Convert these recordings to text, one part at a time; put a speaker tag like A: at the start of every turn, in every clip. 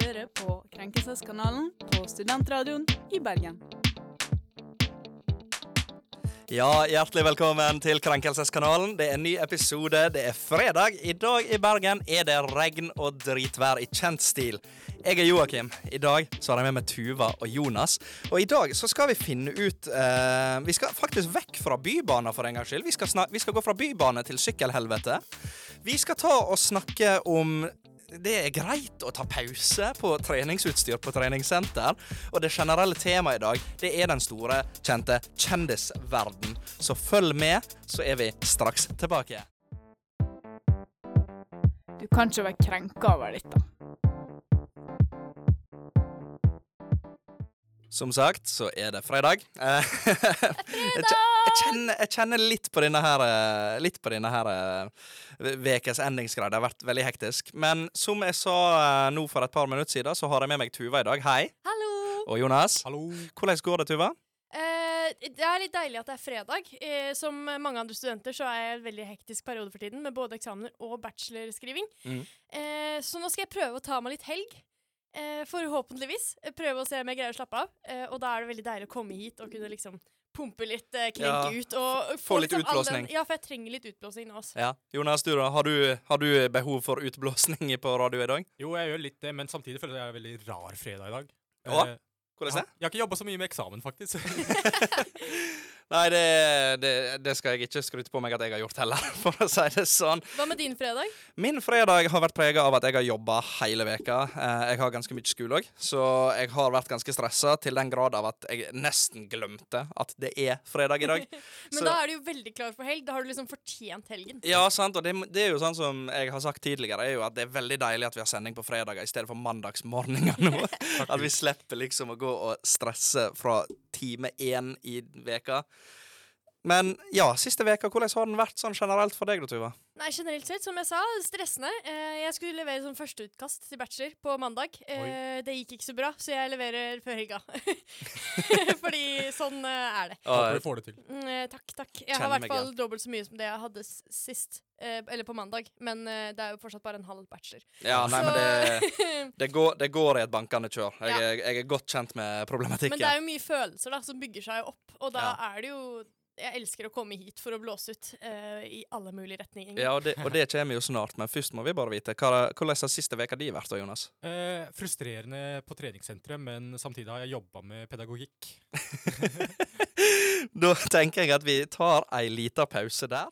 A: hører på Krenkelseskanalen på Studentradioen i Bergen.
B: Ja, hjertelig velkommen til Krenkelseskanalen. Det er en ny episode. Det er fredag. I dag i Bergen er det regn og dritvær i kjent stil. Jeg er Joakim. I dag så har jeg med meg Tuva og Jonas. Og i dag så skal vi finne ut eh, Vi skal faktisk vekk fra bybaner for en gangs skyld. Vi skal, snak vi skal gå fra bybane til sykkelhelvete. Vi skal ta og snakke om det er greit å ta pause på treningsutstyr på treningssenter, og det generelle temaet i dag, det er den store, kjente kjendisverden. Så følg med, så er vi straks tilbake.
A: Du kan ikke være krenka over dette.
B: Som sagt, så er det fredag. Eh, Jeg kje- jeg kjenner, jeg kjenner litt på denne her eh, Litt på denne her eh, ve- Vekes endingsgreia. Det har vært veldig hektisk. Men som jeg sa eh, nå for et par minutter siden, så har jeg med meg Tuva i dag. Hei.
C: Hallo!
B: Og Jonas. Hvordan går det, Tuva?
C: Eh, det er litt deilig at det er fredag. Eh, som mange andre studenter så er jeg i en veldig hektisk periode for tiden med både eksamener og bachelorskriving.
B: Mhm.
C: Eh, så nå skal jeg prøve å ta meg litt helg. Eh, forhåpentligvis. Prøve å se om jeg greier å slappe av. Eh, og da er det veldig deilig å komme hit og kunne liksom pumpe litt, eh,
B: Ja,
C: krenke ut og
B: få litt
C: liksom all
B: utblåsning.
C: Den, ja, for jeg trenger litt utblåsning nå altså. også.
B: Ja. Jonas, du da? Har du, har du behov for utblåsning på radio i dag?
D: Jo, jeg gjør litt det, men samtidig føler jeg det er en veldig rar fredag i dag.
B: Ja,
D: Eh,
B: Hvordan
D: ja,
B: det?
D: jeg har ikke jobba så mye med eksamen, faktisk.
B: Nei, det, det, det skal jeg ikke skryte på meg at jeg har gjort heller, for å si det sånn.
C: Hva med din fredag?
B: Min fredag har vært prega av at jeg har jobba hele veka. Eh, Jeg har ganske mye skole òg, så jeg har vært ganske stressa til den grad av at jeg nesten glemte at det er fredag i dag.
C: Men
B: Så-
C: da er du jo veldig klar for helg. Da har du liksom fortjent helgen.
B: Ja, sant, og det, det er jo sånn som jeg har sagt tidligere, er jo at det er veldig deilig at vi har sending på fredager i stedet for mandagsmorgener nå. at vi slipper liksom å gå og stresse fra time én i veka. Men ja, siste veka, hvordan har den vært sånn generelt for deg, da, Tuva?
C: Nei, generelt sett, som jeg sa, stressende. Eh, jeg skulle levere sånn førsteutkast til bachelor på mandag. Eh, det gikk ikke så bra, så jeg leverer før helga. Fordi sånn eh, er det.
D: Håper du får det til.
C: Mm, eh, takk, takk. Jeg har i
B: Kjenner meg
C: hvert fall dobbelt så mye som det jeg hadde s- sist. Eh, eller på mandag, men eh, det er jo fortsatt bare en halv bachelor.
B: Ja, nei, men det, det, går, det går i et bankende kjør. Jeg,
C: Ja.
B: er- jeg er godt kjent med
C: Men det
B: problematikken.
C: er jo mye følelser da, som bygger seg opp, og da
B: Ja.
C: er det jo Jeg elsker å komme hit for å blåse ut eh, i alle mulige retninger.
B: Ja, og det, og det kommer jo snart, men først må vi bare vite hva, hvordan har siste veka di vært, da, Jonas?
D: Eh, frustrerende på treningssenteret, men samtidig har jeg jobba med pedagogikk.
B: Da tenker jeg at vi tar ei lita pause der.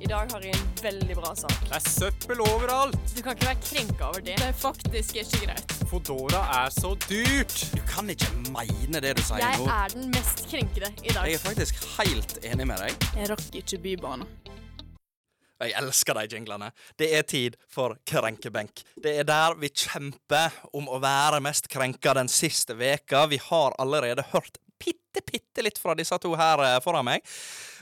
E: I dag har jeg en veldig bra sak.
D: Det er søppel overalt!
E: Du kan ikke være krenka over det. Det er faktisk ikke greit.
D: Fodora er så dyrt!
B: Du kan ikke mene det du sier
C: Jeg er den mest krenkede i dag.
B: Jeg er faktisk helt enig med deg.
E: Jeg rakk ikke bybanen.
B: Jeg elsker de jinglene. Det er tid for krenkebenk. Det er der vi kjemper om å være mest krenka den siste veka. Vi har allerede hørt bitte, bitte litt fra disse to her eh, foran meg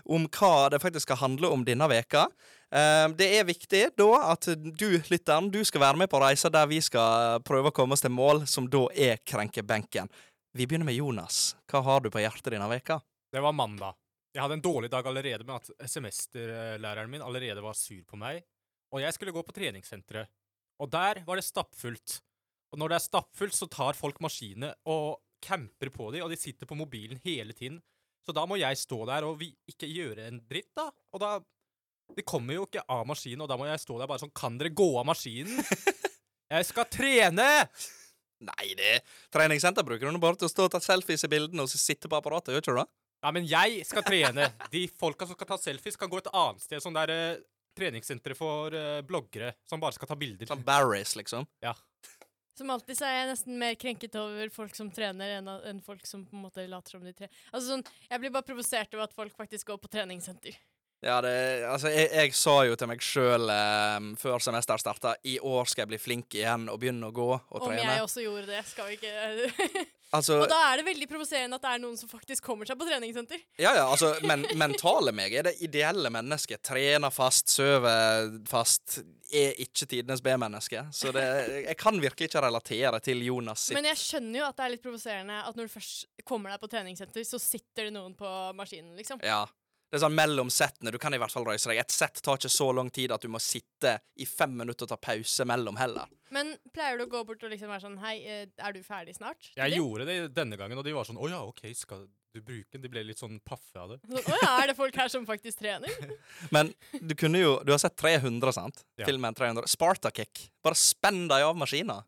B: om hva det faktisk skal handle om denne veka. Eh, Det er viktig da at du, lytteren, du skal være med på reisa der vi skal prøve å komme oss til mål, som da er krenkebenken. Vi begynner med Jonas. Hva har du på hjertet denne veka?
D: Det var mandag. Jeg hadde en dårlig dag allerede med at semesterlæreren min allerede var sur på meg. Og jeg skulle gå på treningssenteret. Og der var det stappfullt. Og når det er stappfullt, så tar folk maskinene og camper på dem, og de sitter på mobilen hele tiden. Så da må jeg stå der og vi ikke gjøre en dritt, da. Og da De kommer jo ikke av maskinen, og da må jeg stå der bare sånn Kan dere gå av maskinen? Jeg skal trene!
B: Nei, det treningssenter bruker du nå bare til å stå og ta selfies i bildene og så sitte på apparatet, gjør ikke du det?
D: Nei, men jeg skal trene. De folka som skal ta selfies, kan gå et annet sted. Sånn der eh, treningssenteret for eh, bloggere som bare skal ta bilder.
B: Sånn Barris, liksom.
D: Ja.
C: Som alltid så er jeg nesten mer krenket over folk som trener, enn enn folk som på en måte later som de trener. Altså sånn, Jeg blir bare provosert over at folk faktisk går på treningssenter.
B: Ja, det, altså, jeg, jeg sa jo til meg sjøl før semesteret starta, i år skal jeg bli flink igjen og begynne å gå og
C: Om
B: trene.
C: jeg også gjorde det, skal vi ikke
B: Altså,
C: Og da er det veldig provoserende at det er noen som faktisk kommer seg på treningssenter.
B: ja, ja, altså, men mentale meg er det ideelle mennesket. Trener fast, sover fast. Er ikke tidenes B-menneske. Så det, jeg kan virkelig ikke relatere til Jonas sitt
C: Men jeg skjønner jo at det er litt provoserende at når du først kommer deg på treningssenter, så sitter det noen på maskinen, liksom.
B: Ja. Det er sånn mellom settene. Du kan i hvert fall røyse deg. Et sett tar ikke så lang tid at du må sitte i fem minutter og ta pause mellom heller.
C: Men pleier du å gå bort og liksom være sånn Hei, eh, er du ferdig snart?
D: Jeg
C: Din?
D: gjorde det denne gangen, og de var sånn Å ja, OK, skal du bruke den? De ble litt sånn paffe av det.
C: Sånn, Å ja, er det folk her som faktisk trener?
B: Men du kunne jo Du har sett 300, sant?
D: Ja.
B: Filmen 300. Spartakick. Bare spenn deg av maskina.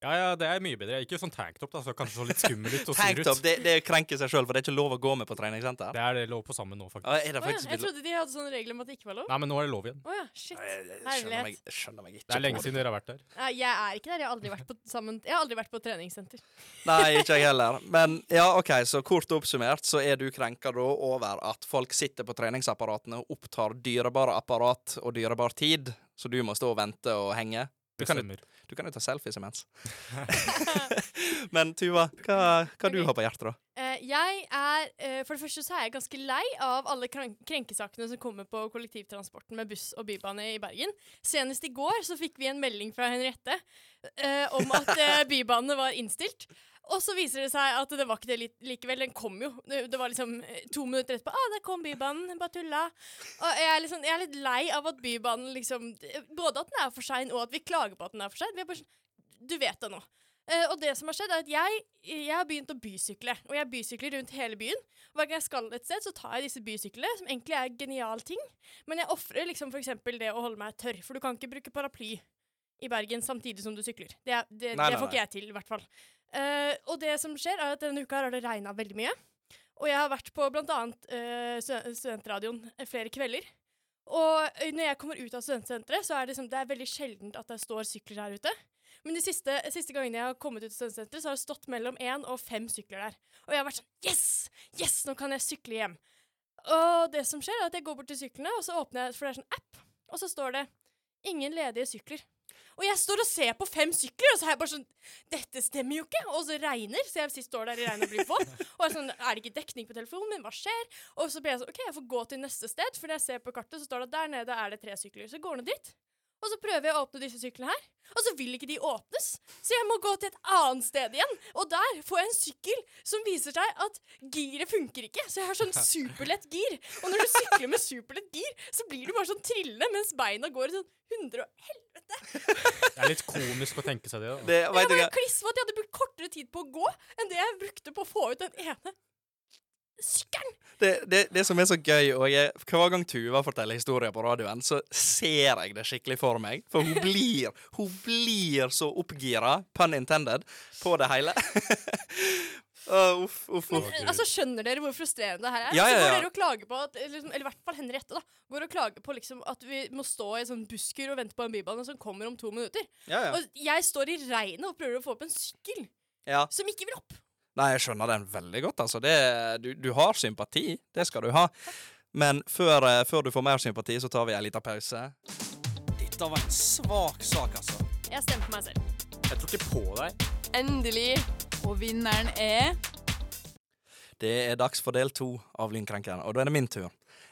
D: Ja, ja, det er mye bedre. Jeg gikk jo sånn tanktop, da, så kanskje så litt skummel ut og sur
B: Tanktop.
D: ut.
B: Det, det krenker seg sjøl, for det er ikke lov å gå med på treningssenter.
D: Det er det lov på sammen nå, faktisk.
B: Ja, Er det
C: Å ja,
B: faktisk
C: jeg trodde de hadde sånne regler om at det ikke var lov.
D: Nei, men nå er det lov igjen.
C: Å ja, shit.
B: Jeg- jeg skjønner
C: Herlighet.
B: meg, jeg skjønner meg ikke.
D: Det er lenge
B: på
D: siden dere har vært der.
C: Nei, jeg er ikke der. Jeg har aldri vært på, sammen, jeg har aldri vært på treningssenter.
B: Nei, ikke jeg heller. Men ja, OK, så kort oppsummert så er du krenka da over at folk sitter på treningsapparatene og opptar dyrebare apparat og dyrebar tid, så du må stå og vente og henge. Du
D: Det
B: kan jo-
D: stemmer.
B: Du kan jo ta selfies imens. Men Tuva, hva, hva du
C: Ok.
B: har på hjertet, da?
C: Eh, jeg er, eh, For det første så er jeg ganske lei av alle kran- krenkesakene som kommer på kollektivtransporten med buss og bybane i Bergen. Senest i går så fikk vi en melding fra Henriette eh, om at eh, bybanene var innstilt. Og så viser det seg at det var ikke det li- likevel. Den kom jo. Det det var liksom eh, to minutter etterpå. Ah, der kom Bybanen. Bare tulla. Og jeg er, liksom, jeg er litt lei av at Bybanen liksom Både at den er for sein, og at vi klager på at den er for sein. Vi er bare sånn Du vet det nå. Eh, og det som har skjedd, er at jeg, jeg har begynt å bysykle. Og jeg bysykler rundt hele byen. Hver gang jeg skal et sted, så tar jeg disse bysyklene, som egentlig er genial ting. Men jeg ofrer liksom f.eks. det å holde meg tørr, for du kan ikke bruke paraply i Bergen samtidig som du sykler. Det, er- det,
B: Nei,
C: det
B: nei,
C: får ikke jeg til, i hvert fall. Eh, og det som skjer, er at denne uka her har det regna veldig mye. Og jeg har vært på blant annet eh, stu- studentradioen eh, flere kvelder. Og eh, når jeg kommer ut av studentsenteret, så er det, liksom, det er veldig sjeldent at det står sykler her ute. Men de siste, siste gangene jeg har kommet ut av studentsenteret, så har det stått mellom én og fem sykler der. Og jeg har vært sånn Yes! Yes, nå kan jeg sykle hjem. Og det som skjer, er at jeg går bort til syklene, og så åpner jeg, for det er sånn app, og så står det Ingen ledige sykler. Og jeg står og ser på fem sykler, og så er jeg bare sånn Dette stemmer jo ikke! Og så regner, så jeg sist står der i regn og blir våt. Og er sånn Er det ikke dekning på telefonen min? Hva skjer? Og så blir jeg sånn OK, jeg får gå til neste sted, for når jeg ser på kartet, så står det at der nede er det tre sykler. Så jeg går nå dit. Og så prøver jeg å åpne disse syklene her, og så vil ikke de åpnes. Så jeg må gå til et annet sted igjen. Og der får jeg en sykkel som viser seg at giret funker ikke. Så jeg har sånn superlett gir. Og når du sykler med superlett gir, så blir du bare sånn trillende mens beina går i sånn 100 og
D: Det er litt komisk å tenke seg det. da.
B: Det,
C: Jeg
B: vet du
C: var
B: hva?
C: jo kliss for at jeg hadde brukt kortere tid på å gå enn det jeg brukte på å få ut den ene sykkelen.
B: det, det, det som er så gøy, og jeg, hver gang Tuva forteller historier på radioen, så ser jeg det skikkelig for meg. For hun blir, hun blir så oppgira, pun intended, på det hele. Å, uff, uff,
C: Men
B: uff.
C: eh, altså, skjønner dere hvor frustrerende det her er?
B: Ja, ja,
C: Så går
B: ja.
C: dere og klager på at, eh, liksom, eller i hvert fall Henriette da, går og klager på liksom, at vi må stå i en sånn busskur og vente på en bybane som kommer om to minutter.
B: Ja, ja.
C: Og jeg står i regnet og prøver å få opp en sykkel
B: ja.
C: som ikke vil opp.
B: Nei, jeg skjønner den veldig godt. Altså, det, du, du har sympati. Det skal du ha. Men før, eh, før du får mer sympati, så tar vi en liten pause. Dette var en svak sak, altså.
C: Jeg stemte meg selv.
D: Jeg tror ikke på deg.
E: Endelig. Og vinneren er
B: Det er dags for del to av Lynkrenkeren, og da er det min tur.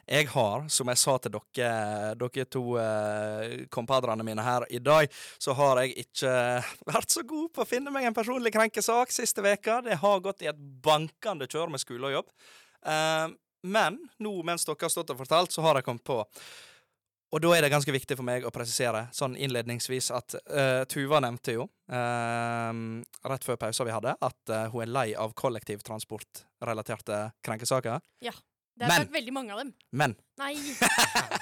B: Jeg har, som jeg sa til dere, dere to eh, kompadrene mine her i dag, så har jeg ikke vært så god på å finne meg en personlig krenkesak siste veka. Det har gått i et bankende kjør med skole og jobb. Eh, men nå mens dere har stått og fortalt, så har jeg kommet på. Og da er det ganske viktig for meg å presisere sånn innledningsvis at eh, Tuva nevnte jo eh, rett før pausa vi hadde, at eh, hun er lei av kollektivtransportrelaterte krenkesaker.
C: Det har
B: Men-
C: vært veldig mange av dem.
B: Men
C: Nei,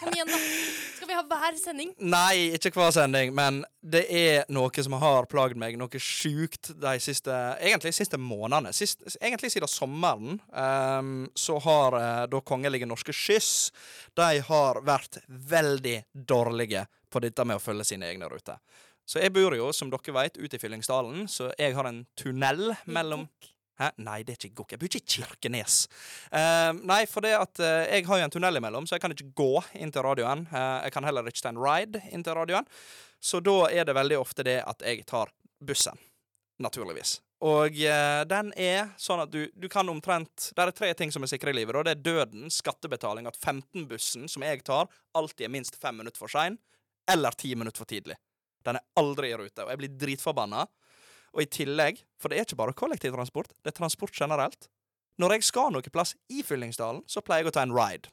C: kom igjen da. Skal vi ha hver sending?
B: Nei, ikke hver sending, men det er noe som har plagd meg noe sjukt de siste Egentlig siste månedene. Sist, egentlig siden sommeren ehm, så har eh, da Kongelige norske skyss De har vært veldig dårlige på dette med å følge sine egne ruter. Så jeg bor jo, som dere vet, ute i Fyllingsdalen, så jeg har en tunnel mellom Hæ? Nei, det er ikke Gokk. Jeg bor ikke i Kirkenes. Ehm, nei, for det at eh, jeg har jo en tunnel imellom, så jeg kan ikke gå inn til radioen. Eh, jeg kan heller ikke ta en ride inn til radioen. Så da er det veldig ofte det at jeg tar bussen. Naturligvis. Og eh, den er sånn at du, du kan omtrent Det er tre ting som er sikre i livet. Da. Det er døden, skattebetaling, at 15-bussen som jeg tar, alltid er minst fem minutter for sein, eller ti minutter for tidlig. Den er aldri i rute, og jeg blir dritforbanna. Og i tillegg, for det er ikke bare kollektivtransport, det er transport generelt. Når jeg skal noe plass i Fyllingsdalen, så pleier jeg å ta en ride.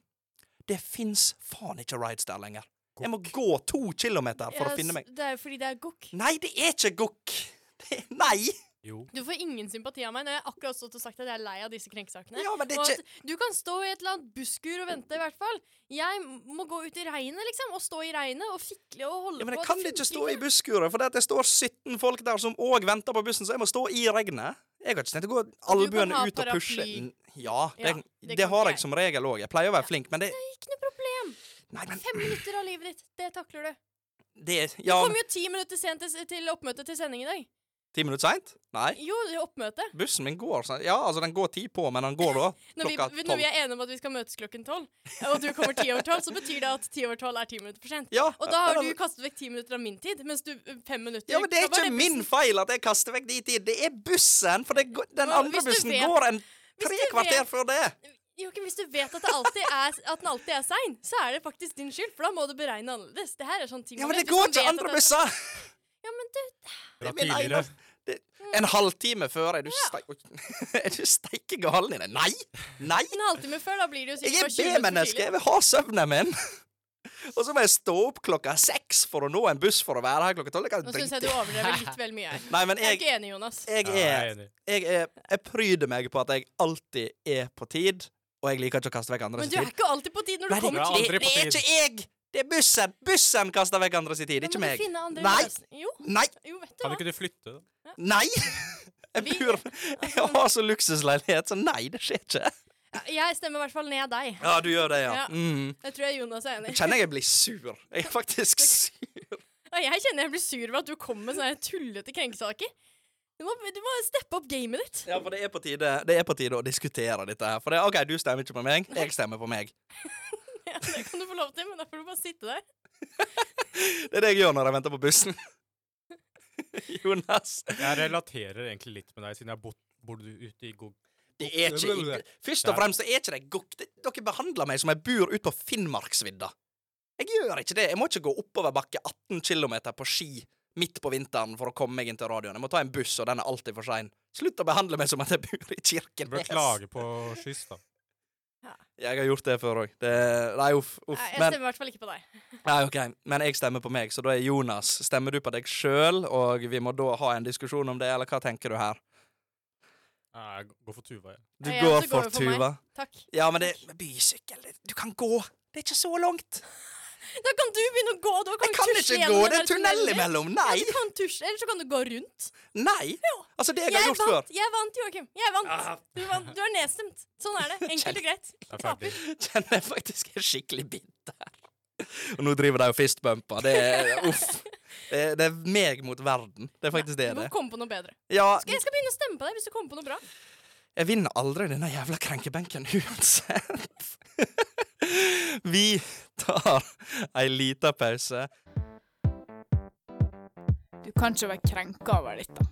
B: Det fins faen ikke rides der lenger. Jeg må gå to kilometer for
C: Ja,
B: å finne meg
C: s- Det er jo fordi det er gokk.
B: Nei, det er ikke gokk! Det er, nei!
D: Jo.
C: Du får ingen sympati av meg når jeg akkurat stått og sagt at jeg er lei av disse krenkesakene.
B: Ja, men det
C: Og
B: er ikke
C: at du kan stå i et eller annet busskur og vente, i hvert fall. Jeg m- må gå ut i regnet, liksom, og stå i regnet og fikle og holde
B: ja, men
C: på.
B: Jeg kan
C: funker
B: ikke stå i busskuret, for det, at det står 17 folk der som òg venter på bussen, så jeg må stå i regnet. Jeg har ikke tenkt å gå albuene
C: ha
B: ut og pushe
C: paraply.
B: N- Ja, det,
C: Ja,
B: det,
C: det kan
B: har
C: ikke
B: jeg som regel òg. Jeg pleier å være flink, men det
C: Ikke noe problem.
B: Nei, men
C: Fem minutter av livet ditt, det takler du.
B: det Ja,
C: Kom jo ti minutter sent til, til oppmøtet til sending i dag.
B: ti minutter seint? Nei.
C: Jo, det er oppmøte.
B: Bussen min går sånn Ja, altså, den går ti på, men den går da
C: Når vi,
B: klokka
C: når
B: tolv.
C: vi er enige om at vi skal møtes klokken tolv, og du kommer ti over tolv, så betyr det at ti over tolv er ti minutter for sent.
B: Ja,
C: Og da har
B: men-
C: du kastet vekk ti minutter av min tid, mens du ø, fem minutter
B: ja, men Det er
C: Da var
B: ikke min
C: bussen.
B: feil at jeg kaster vekk de tid. Det er bussen! For det, går- den
C: Ja,
B: andre
C: hvis du
B: bussen
C: vet-
B: går en
C: Hvis
B: tre
C: du
B: kvarter
C: vet-
B: før det.
C: Joakim, hvis du vet at, det alltid er, at den alltid er sein, så er det faktisk din skyld, for da må du beregne annerledes. Det her er sånn ting
B: Ja,
C: man
B: men det
C: vet. Hvis
B: går
C: man
B: ikke
C: vet
B: andre
C: at-
B: busser!
C: Ja, men du,
D: Fra
B: Det er min
D: tidligere.
B: eiendom. Det, en halvtime før er du, steik, Oi. er du steike galen i deg. Nei! Nei!
C: en halvtime før, da blir det jo
B: Jeg er
C: sikkert bare 20 minutter for
B: B-menneske.
C: tidlig.
B: Jeg vil ha søvnen min. Og så må jeg stå opp klokka seks for å nå en buss for å være her klokka tolv. Jeg kan
C: Nå syns jeg
B: drite.
C: du overdrever litt vel mye her.
B: Nei, men
C: Jeg er
B: jeg,
C: ikke enig, Jonas.
B: jeg,
D: Ja, jeg
B: er,
D: er enig.
B: jeg er Jeg pryder meg på at jeg alltid er på tid, og jeg liker ikke å kaste vekk andres
C: Men du er
B: tid.
C: ikke alltid på tid når
B: Nei,
C: du
B: det,
C: kommer
D: bra.
B: det,
C: til
D: aldri
B: det
D: på
B: er
D: tid.
B: ikke jeg! Det er bussen! Bussen kaster vekk andres tid, ikke
C: Da må du
B: meg.
C: finne andre
B: Nei.
C: løsninger. Jo,
B: Nei!
C: jo, vet du
D: Kan
C: hva.
D: ikke du flytte? da?
B: Nei! Jeg
C: Vi-
B: bor Jeg har så luksusleilighet, så nei, det skjer ikke.
C: Jeg stemmer i hvert fall ned deg.
B: Ja, du gjør det, ja.
C: Ja.
B: Mm.
C: Jeg tror jeg Jonas er
B: Jeg
C: enig.
B: kjenner jeg blir sur. Jeg er faktisk sur.
C: Og jeg kjenner jeg blir sur over at du kommer med sånne tullete krenkesaker. Du må, du må steppe opp gamet ditt.
B: Ja, for det er på tide, det er på tide å diskutere dette her. For det, OK, du stemmer ikke på meg, jeg stemmer på meg.
C: Ja, det kan du få lov til, men da får du bare sitte der.
B: Det er det jeg gjør når jeg venter på bussen. Jonas.
D: Jeg relaterer egentlig litt med deg, siden jeg bor, bor du ute i Gog...
B: Det er ikke Først og fremst så er ikke det gokk. Det- Dere behandler meg som jeg bor ute på Finnmarksvidda. Jeg gjør ikke det. Jeg må ikke gå oppoverbakke 18 km på ski midt på vinteren for å komme meg inn til radioen. Jeg må ta en buss, og den er alltid for sein. Slutt å behandle meg som at jeg bor i
D: Du bør
B: Kirkenes.
D: klage på skyss, da.
B: Jeg har gjort det før òg. Nei, uff. uff.
C: Nei, jeg
B: Men,
C: stemmer i hvert fall ikke på deg.
B: nei, ok. men jeg stemmer på meg, så da er Jonas. Stemmer du på deg sjøl, og vi må da ha en diskusjon om det, eller hva tenker du her?
D: Nei, jeg går for Tuva, jeg.
B: Du
C: Nei,
B: går
C: altså,
B: for
C: går jeg for meg.
B: Tuva.
C: Takk.
B: Ja, men det men bysykkel det- Du kan gå. Det er ikke så langt.
C: Da kan du begynne å gå. Da
B: Jeg
C: kan du
B: kan
C: tusje
B: ikke
C: gjennom
B: gå,
C: den
B: det er
C: der
B: tunnel
C: tunnelen.
B: imellom.
C: Ja,
B: Nei!
C: du kan tusje, eller så kan du gå rundt.
B: Nei! Altså, det jeg har
C: Jeg
B: gjort før Ah.
C: vant, jeg vant, Joakim. Jeg vant. Du, vant. du er nedstemt. Sånn er det. Enkelt og greit.
D: Jeg er ferdig.
B: Kjenner jeg faktisk er skikkelig bitter. Og nå driver de og fistbumper. Det er uff. Det er, det er meg mot verden. Det er faktisk det
C: Du
B: det
C: må
B: er.
C: komme på noe bedre.
B: Ja,
C: Skal- Jeg skal begynne å stemme på deg hvis du kommer på noe bra.
B: jeg vinner aldri denne jævla krenkebenken uansett. Vi tar ei lita pause.
E: Du kan ikke være krenka over dette.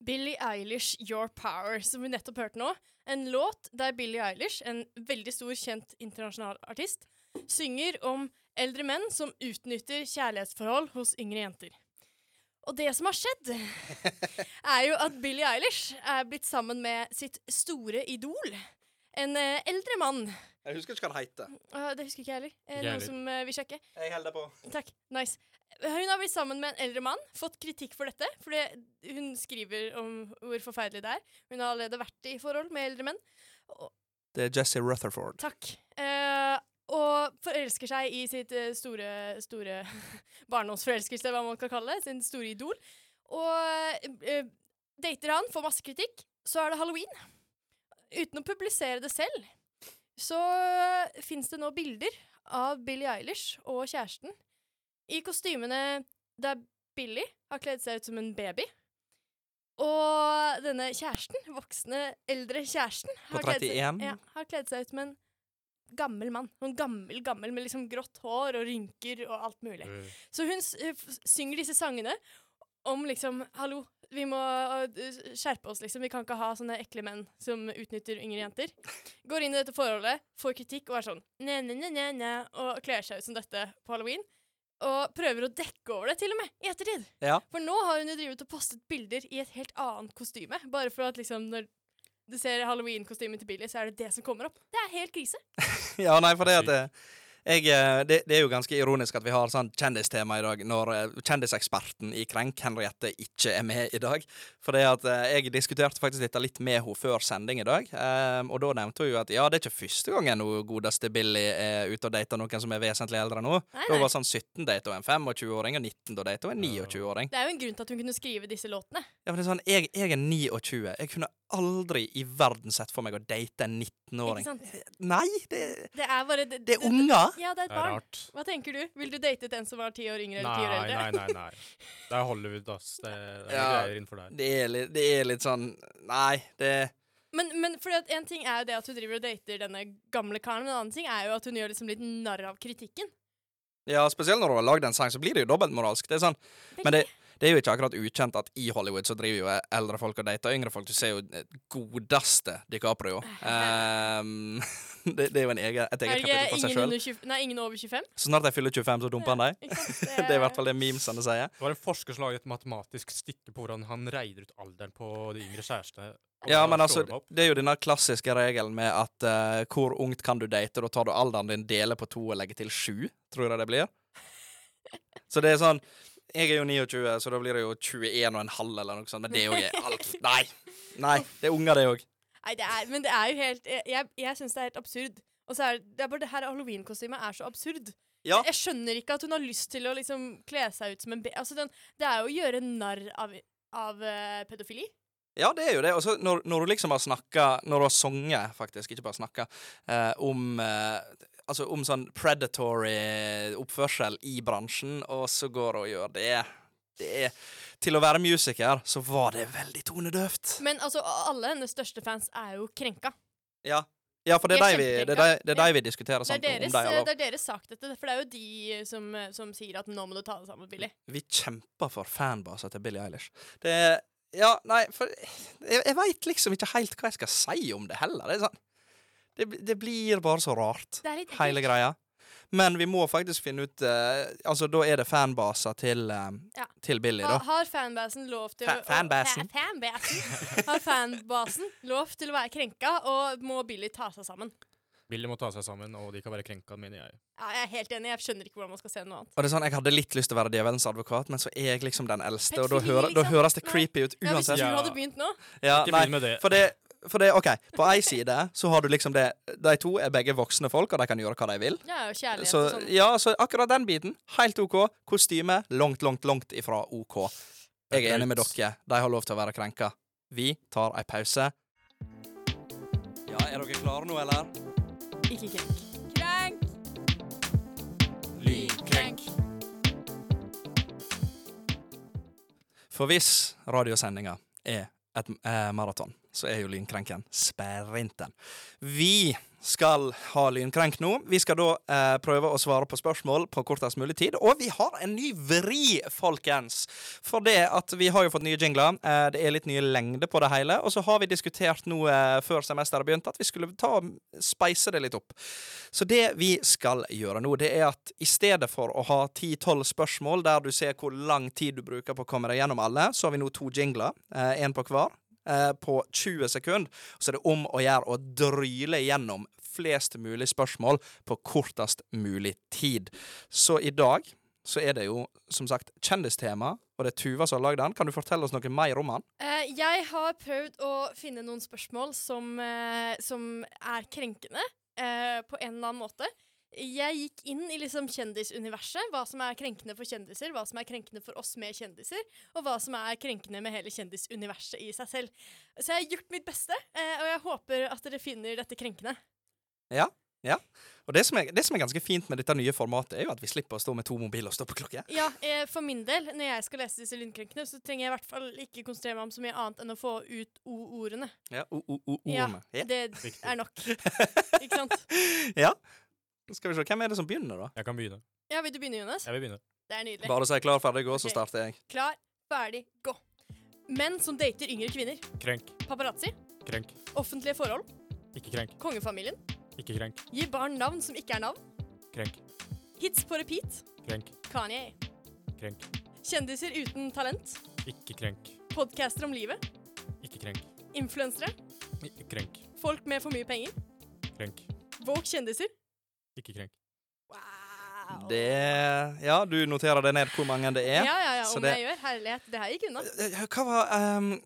C: Billie Eilish, Your Power, som vi nettopp hørte nå. En låt der Billie Eilish, en veldig stor, kjent internasjonal artist, synger om eldre menn som utnytter kjærlighetsforhold hos yngre jenter. Og det som har skjedd, er jo at Billie Eilish er blitt sammen med sitt store idol. En eh, eldre mann.
B: Jeg husker ikke hva den heter.
C: Åh, det husker ikke jeg heller. Eh,
D: Ikke
C: noen
D: heller.
C: som eh, vil sjekke?
B: Jeg holder på.
C: Takk. Nice. Hun har blitt sammen med en eldre mann, fått kritikk for dette. Fordi hun skriver om hvor forferdelig det er. Hun har allerede vært i forhold med eldre menn. Og,
B: Det er Jesse Rutherford.
C: takk. Eh, og forelsker seg i sitt eh, store, store barndomsforelskelse, hva man kan kalle det. Sin store idol. Og eh, dater han, får masse kritikk. Så er det halloween. Uten å publisere det selv, så uh, fins det nå bilder av Billie Eilish og kjæresten i kostymene der Billie har kledd seg ut som en baby. Og denne kjæresten, voksne, eldre kjæresten,
B: På
C: kledd seg-
B: 31?
C: ja, har kledd seg ut som en gammel mann. Noen gammel, gammel med liksom grått hår og rynker og alt mulig.
D: Mm.
C: Så hun s- eh, f- synger disse sangene om liksom Hallo, vi må eh, skjerpe oss, liksom. Vi kan ikke ha sånne ekle menn som utnytter yngre jenter. Går inn i dette forholdet, får kritikk og er sånn ne, ne, ne, ne, ne, og kler seg ut som dette på halloween. Og prøver å dekke over det, til og med, i ettertid.
B: Ja.
C: For nå har hun jo drivet og postet bilder i et helt annet kostyme. Bare for at liksom når du ser halloween-kostymet til Billy, så er det det som kommer opp. Det er helt krise.
B: Ja, nei, for det at eh, jeg, eh, det, det er jo ganske ironisk at vi har sånn kjendistema i dag, når eh, kjendiseksperten i Krenk, Henriette, ikke er med i dag. For det at eh, jeg diskuterte faktisk dette litt med henne før sending i dag, eh, og da nevnte hun jo at ja, det er ikke første gangen hun godeste Billy er ute og dater noen som er vesentlig eldre enn henne.
C: Nei,
B: Hun
C: nei.
B: var sånn 17 date og en 25-åring, og 19 da date og en
D: Ja.
B: 29-åring.
C: Det er jo en grunn til at hun kunne skrive disse låtene.
B: Ja, for det er sånn, jeg, jeg er 29. Jeg kunne aldri i verden sett for meg å date en
C: Ikke
B: 19-åring.
C: sant?
B: Nei, det,
C: Det er bare det,
B: det er unger!
C: Ja, det er et
D: Det er
C: barn.
D: rart.
C: Hva tenker du? Vil du datet en som var ti år yngre
D: Nei,
C: eller ti år eldre?
D: nei, nei. nei. Det er Hollywood, ass. Det er det er
B: Ja.
D: greier innenfor der.
B: Det er litt, det er litt sånn Nei, det
C: Men, men fordi at en ting er jo det at hun driver og dater denne gamle karen, men en annen ting er jo at hun gjør liksom litt narr av kritikken.
B: Ja, spesielt når du har lagd en sang, så blir det jo dobbeltmoralsk. Det er sånn. Men det, det er jo ikke akkurat ukjent at i Hollywood så driver jo eldre folk og dater yngre folk. Du ser jo eh, godeste DiCaprio. Ehm, det, det er jo en egen, et
C: Er
B: eget kapittel
C: det
B: for
C: ikke
B: seg
C: ingen,
B: sjøl.
C: under 20, nei, ingen over 25?
B: Så snart jeg fyller 25, så dumper han deg.
C: Ikke sant?
B: Det er i hvert fall det memesene sier.
D: Det var en forsker som laget et matematisk stykke på hvordan han regner ut alderen på de yngre kjærestene. og
B: Ja,
D: hvordan
B: men
D: han
B: altså,
D: slår dem opp.
B: det er jo denne klassiske regelen med at eh, hvor ungt kan du date? Da tar du alderen din, deler på to og legger til sju, tror jeg det blir. Så det er sånn Jeg er jo 29, så da blir det jo 21 og en halv eller noe sånt. Men det er jo ikke alt Nei! Nei, det er unger, det òg.
C: Nei, det er, men det er jo helt Jeg, jeg, jeg syns det er helt absurd. Og så er det, det er bare det her halloween-kostymet er så absurd.
B: Ja.
C: Jeg skjønner ikke at hun har lyst til å liksom kle seg ut som en be... Altså, den, det er jo å gjøre narr av, av eh, pedofili.
B: Ja, det er jo det. Og så når, når du liksom har snakka Når du har sunget, faktisk, ikke bare snakka, eh, om eh, Altså om sånn predatory oppførsel i bransjen, og så går hun og gjør det. Det er Til å være musiker, så var det veldig tonedøvt.
C: Men altså, alle hennes største fans er jo krenka.
B: Ja. ja, for det
C: De
B: er
C: er
B: de vi, det er
C: kjempeflinke.
B: de, det er de vi diskuterer
C: Det er,
B: sant,
C: deres, eh,
B: om de har lov.
C: det er deres sak, dette. For det er jo de som, eh, som sier at 'nå må du ta deg sammen, Billy'.
B: Vi kjemper for fanbaser til Billie Eilish. Det er Ja, nei, for Jeg, jeg veit liksom ikke helt hva jeg skal si om det heller. Det er sånn Det, bl- det blir bare så rart,
C: Det er litt
B: hele greia. Men vi må faktisk finne ut eh, Altså, da er det fanbaser til, eh,
C: Ja.
B: til Billie,
C: Ha,
B: da.
C: har fanbasen lov til
B: Fa-
C: å-
B: fanbasen?
C: Fa- fanbasen. Har fanbasen lov til å være krenka, og må Billy ta seg sammen?
D: Billy må ta seg sammen, og de kan være krenka, mener jeg.
C: Ja, jeg er helt enig. Jeg skjønner ikke hvordan man skal se noe annet.
B: Og det er sånn, Jeg hadde litt lyst til å være djevelens advokat, men så er jeg liksom den eldste, og da,
C: Pedofili,
B: hører, da
C: liksom.
B: høres det
C: Nei.
B: creepy ut
C: Ja, hvis du
B: uansett.
D: Ja.
C: hadde begynt nå
B: Ja,
D: Ikke
B: nei,
D: begynn med det.
B: For det, for det, ok, På ei side så har du liksom det De to er begge voksne folk, og de kan gjøre hva de vil.
C: Ja, jo, kjærlighet
B: Så,
C: og sånn.
B: ja, så akkurat den biten, helt OK. Kostyme, langt, langt, langt ifra OK. Jeg er enig med dere. De har lov til å være krenka. Vi tar ei pause. Ja, er dere klare nå, eller?
C: Ikke krenk.
A: Krenk!
D: Lynkrenk.
B: For hvis radiosendinga er et eh, maraton, så er jo Lynkrenken sprinten. Vi skal ha lynkrenk nå. Vi skal da eh, prøve å svare på spørsmål på kortest mulig tid. Og vi har en ny vri, folkens! For det at vi har jo fått nye jingler. Eh, det er litt nye lengder på det hele. Og så har vi diskutert nå eh, før semesteret begynte, at vi skulle ta speise det litt opp. Så det vi skal gjøre nå, det er at i stedet for å ha 10-12 spørsmål der du ser hvor lang tid du bruker på å komme deg gjennom alle, så har vi nå to jingler, én på hver, eh, på 20 sekunder. Så er det om å gjøre å dryle gjennom flest mulig spørsmål på kortest mulig tid. Så i dag så er det jo som sagt kjendistema, og det er Tuva som har lagd den. Kan du fortelle oss noe mer om den?
C: Eh, jeg har prøvd å finne noen spørsmål som, eh, som er krenkende eh, på en eller annen måte. Jeg gikk inn i liksom kjendisuniverset. Hva som er krenkende for kjendiser, hva som er krenkende for oss med kjendiser, og hva som er krenkende med hele kjendisuniverset i seg selv. Så jeg har gjort mitt beste, eh, og jeg håper at dere finner dette krenkende.
B: Og det som, er, det som er ganske fint med dette nye formatet, er jo at vi slipper å stå med to mobiler og stoppeklokke.
C: Ja, eh, For min del, når jeg skal lese disse lynkrenkene, så trenger jeg i hvert fall ikke konsentrere meg om så mye annet enn å få ut o-ordene.
B: Ja, o, o, o,
C: Ja.
B: ordene. Ja.
C: Det
D: Riktig.
C: er nok. Ikke sant?
B: Ja. Skal vi se, Hvem er det som begynner, da?
D: Jeg kan begynne.
C: Ja, Vil du begynne, Jonas?
D: Jeg vil begynne.
C: Det er nydelig.
B: Bare så jeg er klar, ferdig, gå, så
C: Ok.
B: starter jeg.
C: Klar, ferdig, gå. Menn som dater yngre kvinner.
D: Krenk,
C: Paparazzi.
D: krenk,
C: Offentlige forhold.
D: ikke krenk,
C: Kongefamilien.
D: ikke krenk,
C: Gi barn navn som ikke er navn.
D: krenk,
C: Hits på repeat.
D: krenk,
C: Kanye.
D: krenk,
C: Kjendiser uten talent.
D: ikke krenk,
C: Podcaster om livet.
D: ikke krenk,
C: Influensere.
D: Ikke krenk.
C: Folk med for mye penger.
D: Krenk.
C: Våg kjendiser.
D: Ikke krenk.
C: Wow.
B: Det Ja, du noterer det ned hvor mange det
C: ja,
B: er.
C: ja, ja.
B: så
C: Om
B: det-
C: jeg gjør. Herlighet, det her gikk unna.
B: Eh, Hva var ehm,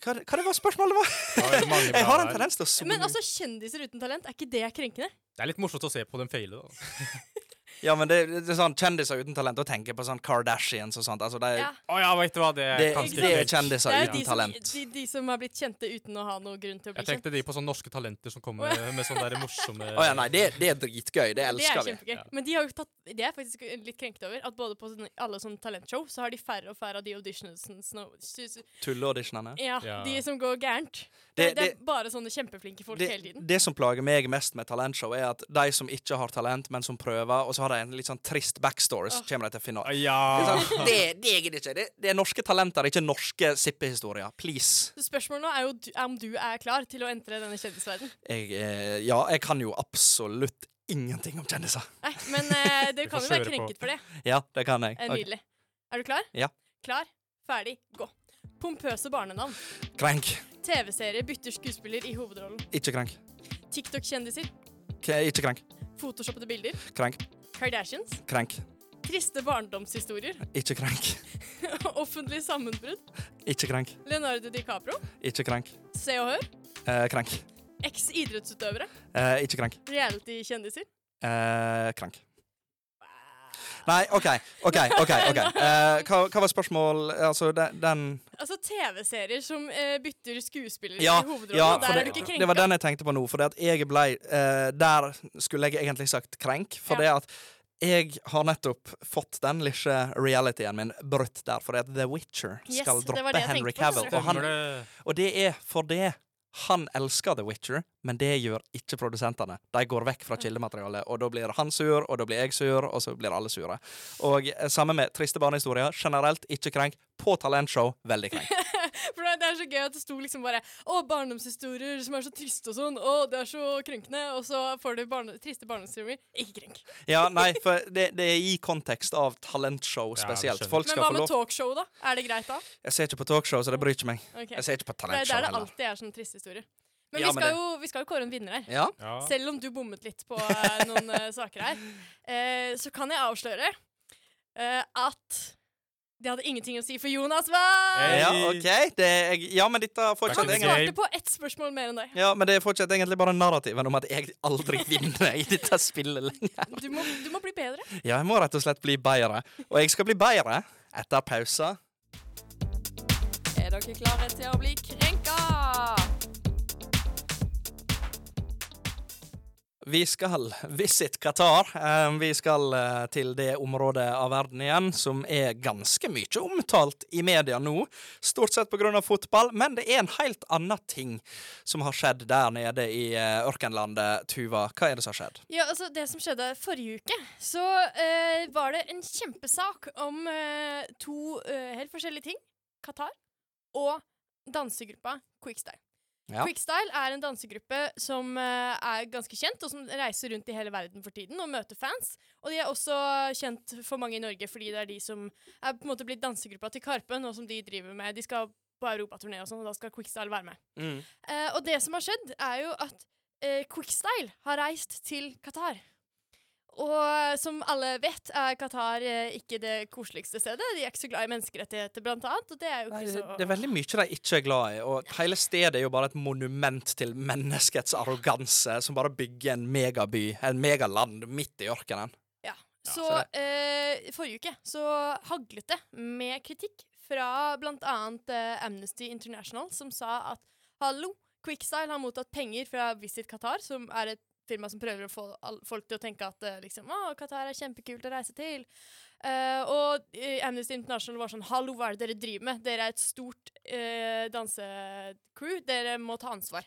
B: hva, hva det var spørsmålet var?
D: Ja, det er mange bra
B: Jeg har en
D: der.
B: tendens til å zoome
C: Men
B: ut.
C: altså, kjendiser uten talent, er ikke det krenkende?
D: Det er litt morsomt å se på dem feile, da.
B: Ja, men det, det er sånn Kjendiser uten talent, da tenker jeg på sånn Kardashians og sånt. Altså, det, er-
C: Ja.
D: Å ja, vet du hva, det er
B: det,
D: ganske
B: det er
D: krenk.
C: Det
B: kjendiser
C: er jo de
B: uten
C: som,
B: talent.
C: de, de som har blitt kjente uten å ha noen grunn til å bli
D: Jeg
C: kjent.
D: tenkte de på sånne norske talenter som kommer med sånne der morsomme
B: Å ja, nei, det, det er dritgøy. Det
C: Det er
B: elsker vi.
C: kjempegøy.
D: Ja.
C: Men de har jo tatt, det er jeg faktisk litt krenket over. At både på sånne, alle sånne talentshow så har de færre og færre av de auditionsene. som-
B: Tulleauditionene.
C: Ja,
D: Ja.
C: de som går gærent.
B: Det-
C: Det, det,
B: det-
C: er bare sånne kjempeflinke folk
B: Det,
C: hele tiden.
B: det som plager meg mest med talentshow, er at de som ikke har talent, men som prøver, og så har de en litt sånn trist backstory, så
C: Åh.
B: kommer de til finalen.
D: Å, Ja.
B: Det, det gidder jeg ikke. Det, det er norske talenter, ikke norske sippehistorier. Please.
C: Så spørsmålet nå er jo du, er om du er klar til å entre denne kjendisverdenen.
B: Jeg, eh, ja, jeg kan jo absolutt ingenting om kjendiser.
C: Nei, men eh, dere
D: Du
C: kan
D: får
C: jo være
D: kjøre på.
C: krenket for det.
B: Ja, det kan jeg.
C: Eh,
B: Ok.
C: Nydelig. Er du klar?
B: Ja.
C: Klar, ferdig, gå. Pompøse barnenavn.
B: Krenk.
C: TV-serie bytter skuespiller i hovedrollen.
B: Ikke krenk.
C: TikTok-kjendiser.
B: K ikke krenk.
C: Photoshoppede bilder.
B: Krenk.
C: Kardashians.
B: Krenk.
C: Triste barndomshistorier.
B: Ikke krenk.
C: Offentlig sammenbrudd.
B: Ikke krenk.
C: Leonardo DiCapro.
B: Ikke krenk.
C: Se og Hør.
B: Eh, krenk.
C: Eks-idrettsutøvere.
B: Eh, ikke krenk.
C: Reality-kjendiser.
B: Eh, krenk. Nei, OK. OK. ok, ok. Eh, hva, hva var spørsmål Altså, den, den
C: Altså TV-serier som eh, bytter skuespiller
B: Ja,
C: i hovedrollen.
B: ja, for
C: der er
B: det-
C: du
B: Det
C: ikke
B: var
C: krenka.
B: den jeg tenkte på nå. For det at jeg ble, eh, der skulle jeg egentlig sagt krenk. For det at jeg har nettopp fått den lille realityen min brutt der. For det at The Witcher
C: Yes,
B: skal
C: det var
B: droppe
C: det jeg
B: Henry
C: tenkte på.
B: Cavill. Og,
D: Stemmer
B: han,
D: det.
B: og det er fordi han elsker The Witcher, men det gjør ikke produsentene. De går vekk fra kildematerialet, og da blir han sur, og da blir jeg sur, og så blir alle sure. Og eh, samme med triste barnehistorier. Generelt ikke krenk. På talentshow, veldig krenk.
C: For det, det er så gøy at det sto liksom bare Å, barndomshistorier som er så triste og sånn. Å, det er så krenkende. Og så får du barne, triste barndomshistorier. Ikke krenk.
B: Ja, nei, for det, det er i kontekst av talentshow
D: Ja,
B: spesielt.
D: skjønner.
B: Folk
C: Men
B: skal
C: hva
B: få
C: med
B: lov
C: talkshow, da? Er det greit da?
B: Jeg ser ikke på talkshow, så det bryr ikke meg.
C: Ok.
B: Jeg ser ikke på
C: For Det er
B: talentshow
C: der det
B: heller.
C: alltid er sånne triste historier. Men,
B: Ja,
C: vi,
B: men
C: skal
B: det-
C: jo, vi skal jo kåre en vinner her.
B: Ja.
D: Ja.
C: Selv om du bommet litt på eh, noen eh, saker her, eh, så kan jeg avsløre eh, at det hadde ingenting å si for Jonas, hva?
D: Hey.
B: ja, OK. Det er, ja, men dette
D: Back
B: fortsetter
D: in the
B: egentlig
C: Svarte
D: game.
C: på ett spørsmål mer enn deg.
B: ja, men det fortsetter egentlig bare narrativen om at jeg aldri vinner i dette spillet lenger.
C: Du må, du må bli bedre.
B: Ja, jeg må rett og slett bli bedre. Og jeg skal bli bedre etter pausa.
A: Er dere klare til å bli krenka?
B: Vi skal visit Qatar. Eh, Vi skal eh, til det området av verden igjen som er ganske mye omtalt i media nå. Stort sett pga. fotball, men det er en helt annen ting som har skjedd der nede i eh, ørkenlandet. Tuva, hva er det som har skjedd?
C: Ja, altså Det som skjedde forrige uke, så eh, var det en kjempesak om eh, to eh, helt forskjellige ting. Qatar og dansegruppa Quickstyle.
B: Ja.
C: Quickstyle er en dansegruppe som eh, er ganske kjent, og som reiser rundt i hele verden for tiden og møter fans. Og de er også kjent for mange i Norge, fordi det er de som er på en måte blitt dansegruppa til Karpe, nå som de driver med De skal på europaturné og sånn, og da skal Quickstyle være med. Eh, og det som har skjedd, er jo at eh, Quickstyle har reist til Qatar. Og eh, som alle vet, er Qatar eh, ikke det koseligste stedet. De er ikke så glad i menneskerettigheter, blant annet. Og det er jo
B: Nei,
C: ikke
B: det,
C: så
B: det er veldig mye de ikke er glad i, og hele stedet er jo bare et monument til menneskets arroganse, som bare bygger en megaby, en megaland, midt i ørkenen.
C: Så
B: så
C: eh, forrige uke så haglet det med kritikk fra bl.a. Eh, Amnesty International, som sa at hallo, Quickstyle har mottatt penger fra Visit Qatar, som er et firma som prøver å få all- folk til å tenke at eh, liksom, å, Qatar er kjempekult å reise til. Eh, og eh, Amnesty International var sånn hallo, hva er det dere driver med? Dere er et stort eh, dansecrew, dere må ta ansvar.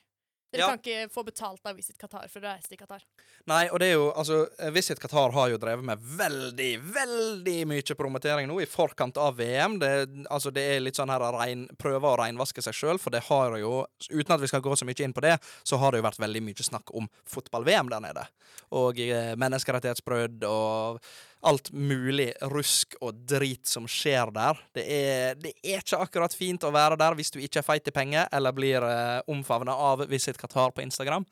C: Dere
B: Ja.
C: kan ikke få betalt av Visit Qatar for å reise til Qatar.
B: Nei, og det er jo, altså, Visit Qatar har jo drevet med veldig, veldig mye promotering nå i forkant av VM. Det, altså, det er litt sånn her rein, prøve å renvaske seg sjøl, for det har jo, uten at vi skal gå så mye inn på det, så har det jo vært veldig mye snakk om fotball-VM der nede. Og eh, menneskerettighetsbrudd og alt mulig rusk og drit som skjer der. Det er, det er ikke akkurat fint å være der hvis du ikke er feit i penger, eller blir eh, omfavna av Visit Qatar på Instagram.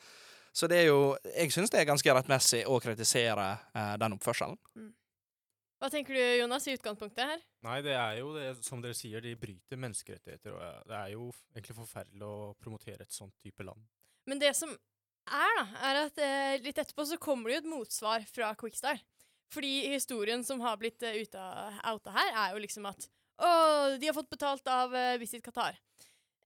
B: Så det er jo Jeg syns det er ganske rettmessig å kritisere eh, den oppførselen.
C: Hva tenker du, Jonas, i utgangspunktet her?
D: Nei, det er jo det, som dere sier, de bryter menneskerettigheter. Og eh, det er jo f- egentlig forferdelig å promotere et sånt type land.
C: Men det som er, da, er at eh, litt etterpå så kommer det jo et motsvar fra Quickstyle. Fordi historien som har blitt eh, uta, outa her, er jo liksom at Å, de har fått betalt av eh, Visit Qatar.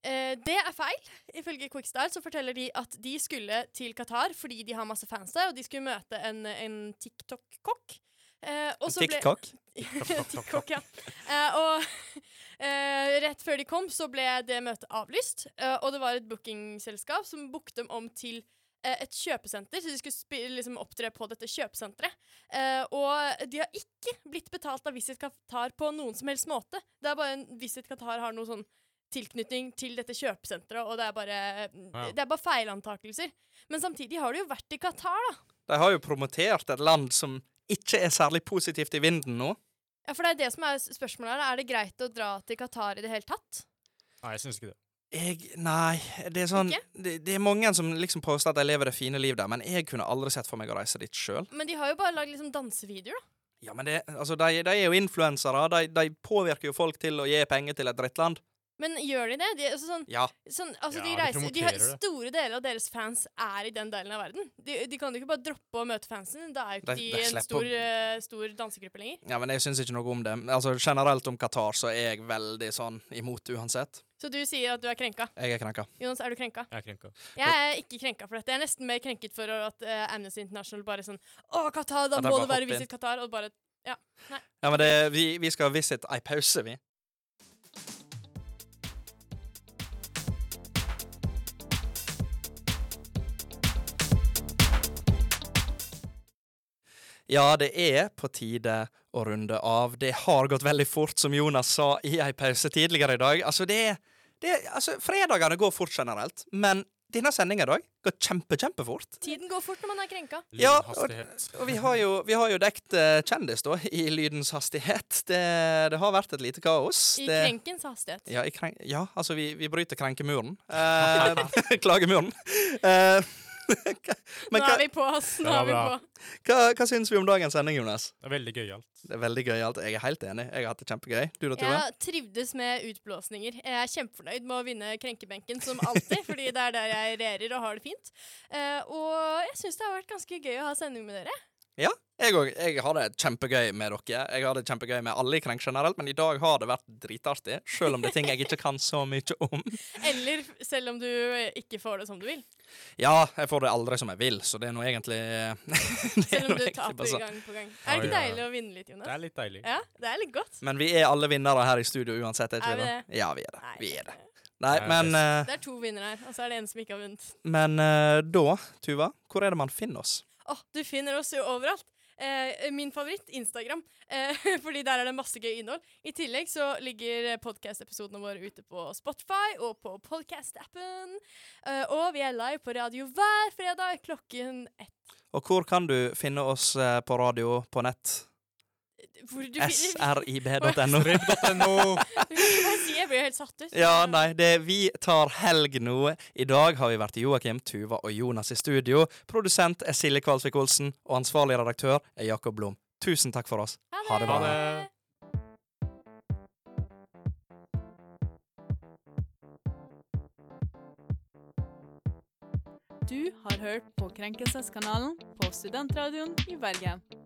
C: Eh, det er feil. Ifølge Quickstyle så forteller de at de skulle til Qatar fordi de har masse fans der, og de skulle møte en, en TikTok-kokk. Eh, og så ble-
B: TikTok.
C: TikTok, ja. Eh, og eh, rett før de kom, så ble det møtet avlyst. eh, og det var et bookingselskap som booket dem om til eh, et kjøpesenter, så de skulle spi- liksom opptre på dette kjøpesenteret. Eh, og de har ikke blitt betalt av Visit Qatar på noen som helst måte. Det er bare en Visit Qatar har noe sånn tilknytning til dette kjøpesenteret, og det er bare,
D: Ja.
C: det er bare feilantakelser. Men samtidig har de jo vært i Qatar, da.
B: De har jo promotert et land som ikke er særlig positivt i vinden nå.
C: Ja, for det er det som er s- spørsmålet her. Er det greit å dra til Qatar i det hele tatt?
D: Nei, jeg syns ikke det.
B: Jeg Nei. Det er sånn det, det er mange som liksom påstår at de lever det fine liv der, men jeg kunne aldri sett for meg å reise dit sjøl.
C: Men de har jo bare lagd liksom dansevideoer, da.
B: Ja, men det, altså, de, de er jo influensere. De, de påvirker jo folk til å gi penger til et drittland.
C: Men gjør de det? De, altså sånn,
B: Ja.
C: sånn, altså
D: Ja,
C: de
D: de
C: reiser, de har,
D: promoterer det.
C: store deler av deres fans er i den delen av verden. De, de kan jo ikke bare droppe å møte fansen. Da er jo
B: De-
C: ikke de,
B: de slipper
C: en stor,
B: å-
C: eh, stor dansegruppe lenger.
B: ja, men jeg syns ikke noe om det. Altså, Generelt om Qatar så er jeg veldig sånn imot uansett.
C: Så du sier at du er krenka.
B: Jeg er krenka.
C: Jonas, er du krenka?
D: Jeg er krenka.
C: Jeg er ikke krenka for dette. Jeg er nesten mer krenket for at eh, Amnesty International bare sånn Å, Qatar, da
B: At de
C: må
B: bare
C: det være
B: hopper inn.
C: Visit Qatar. Og bare
B: Ja, men det, vi, vi skal visit ei pause, vi. Ja, det er på tide å runde av. Det har gått veldig fort, som Jonas sa i ei pause tidligere i dag. Altså, det er det, er- altså, Fredagene går fort generelt, men denne sendinga i dag går kjempe, kjempefort.
C: Tiden går fort når man er krenka.
B: Ja, og-
D: Lynhastighet.
B: Og vi har jo, vi har jo dekt eh, kjendis, da, i lydens hastighet. Det, det har vært et lite kaos.
C: I
B: det,
C: krenkens hastighet.
B: ja, i krenk, ja, altså, vi, vi bryter krenkemuren. Eh, klagemuren. Eh, men
C: Nå
B: hva,
C: er vi på, ass. Nå
D: Det var
C: er vi
D: bra.
C: på.
B: hva, hva syns vi om dagens sending, Jonas?
D: Det er veldig gøyalt.
B: Det er veldig gøyalt. Jeg er helt enig. Jeg har hatt det kjempegøy. Du da, Tuve?
C: Jeg trivdes med utblåsninger. Jeg er kjempefornøyd med å vinne krenkebenken, som alltid, fordi det er der jeg regjerer og har det fint. Eh, og jeg syns det har vært ganske gøy å ha sending med dere.
B: Jeg òg. Jeg har det kjempegøy med dere. Jeg har det kjempegøy med alle i Krenk generelt, men i dag har det vært dritartig. Selv om det er ting jeg ikke kan så mye om.
C: Eller selv om du ikke får det som du vil.
B: Ja, jeg får det aldri som jeg vil, så det er nå egentlig eh, det er nå
C: Selv om du
B: egentlig bare
C: taper
B: sånn.
C: gang på gang. Er det
D: Ja,
C: ikke
D: ja, ja.
C: deilig å vinne litt,
D: Det
C: Jonas?
D: er litt deilig.
C: Ja, det er litt godt.
B: Men vi er alle vinnere her i studio uansett, er ikke
C: Er vi
B: vi
C: det?
B: det? Ja, vi er det.
C: Nei,
B: Vi er det. Nei,
D: Nei,
B: men, eh,
C: Det er to vinnere her, og så er det en som ikke har vunnet.
B: men eh, da, Tuva, hvor er det man finner oss?
C: Å, du finner oss jo overalt. Eh, min favoritt, Instagram, eh, fordi der er det masse gøy innhold. I tillegg så ligger podkast-episodene våre ute på Spotify og på podcast-appen. Eh, og vi er live på radio hver fredag klokken ett.
B: Og hvor kan du finne oss eh, på radio på nett?
C: Hvor du finner
B: srib.no.
D: Ribb.no.
C: Hva sier jeg? Jeg blir jo helt satt ut.
B: Ja, nei, det er Vi tar helg nå. I dag har vi vært Joakim, Tuva og Jonas i studio. Produsent er Silje Kvalsvik Olsen, og ansvarlig redaktør er Jakob Blom. Tusen takk for oss. Ha det
D: bra.
C: det.
A: Du har hørt på Krenkelseskanalen på Studentradioen i Bergen.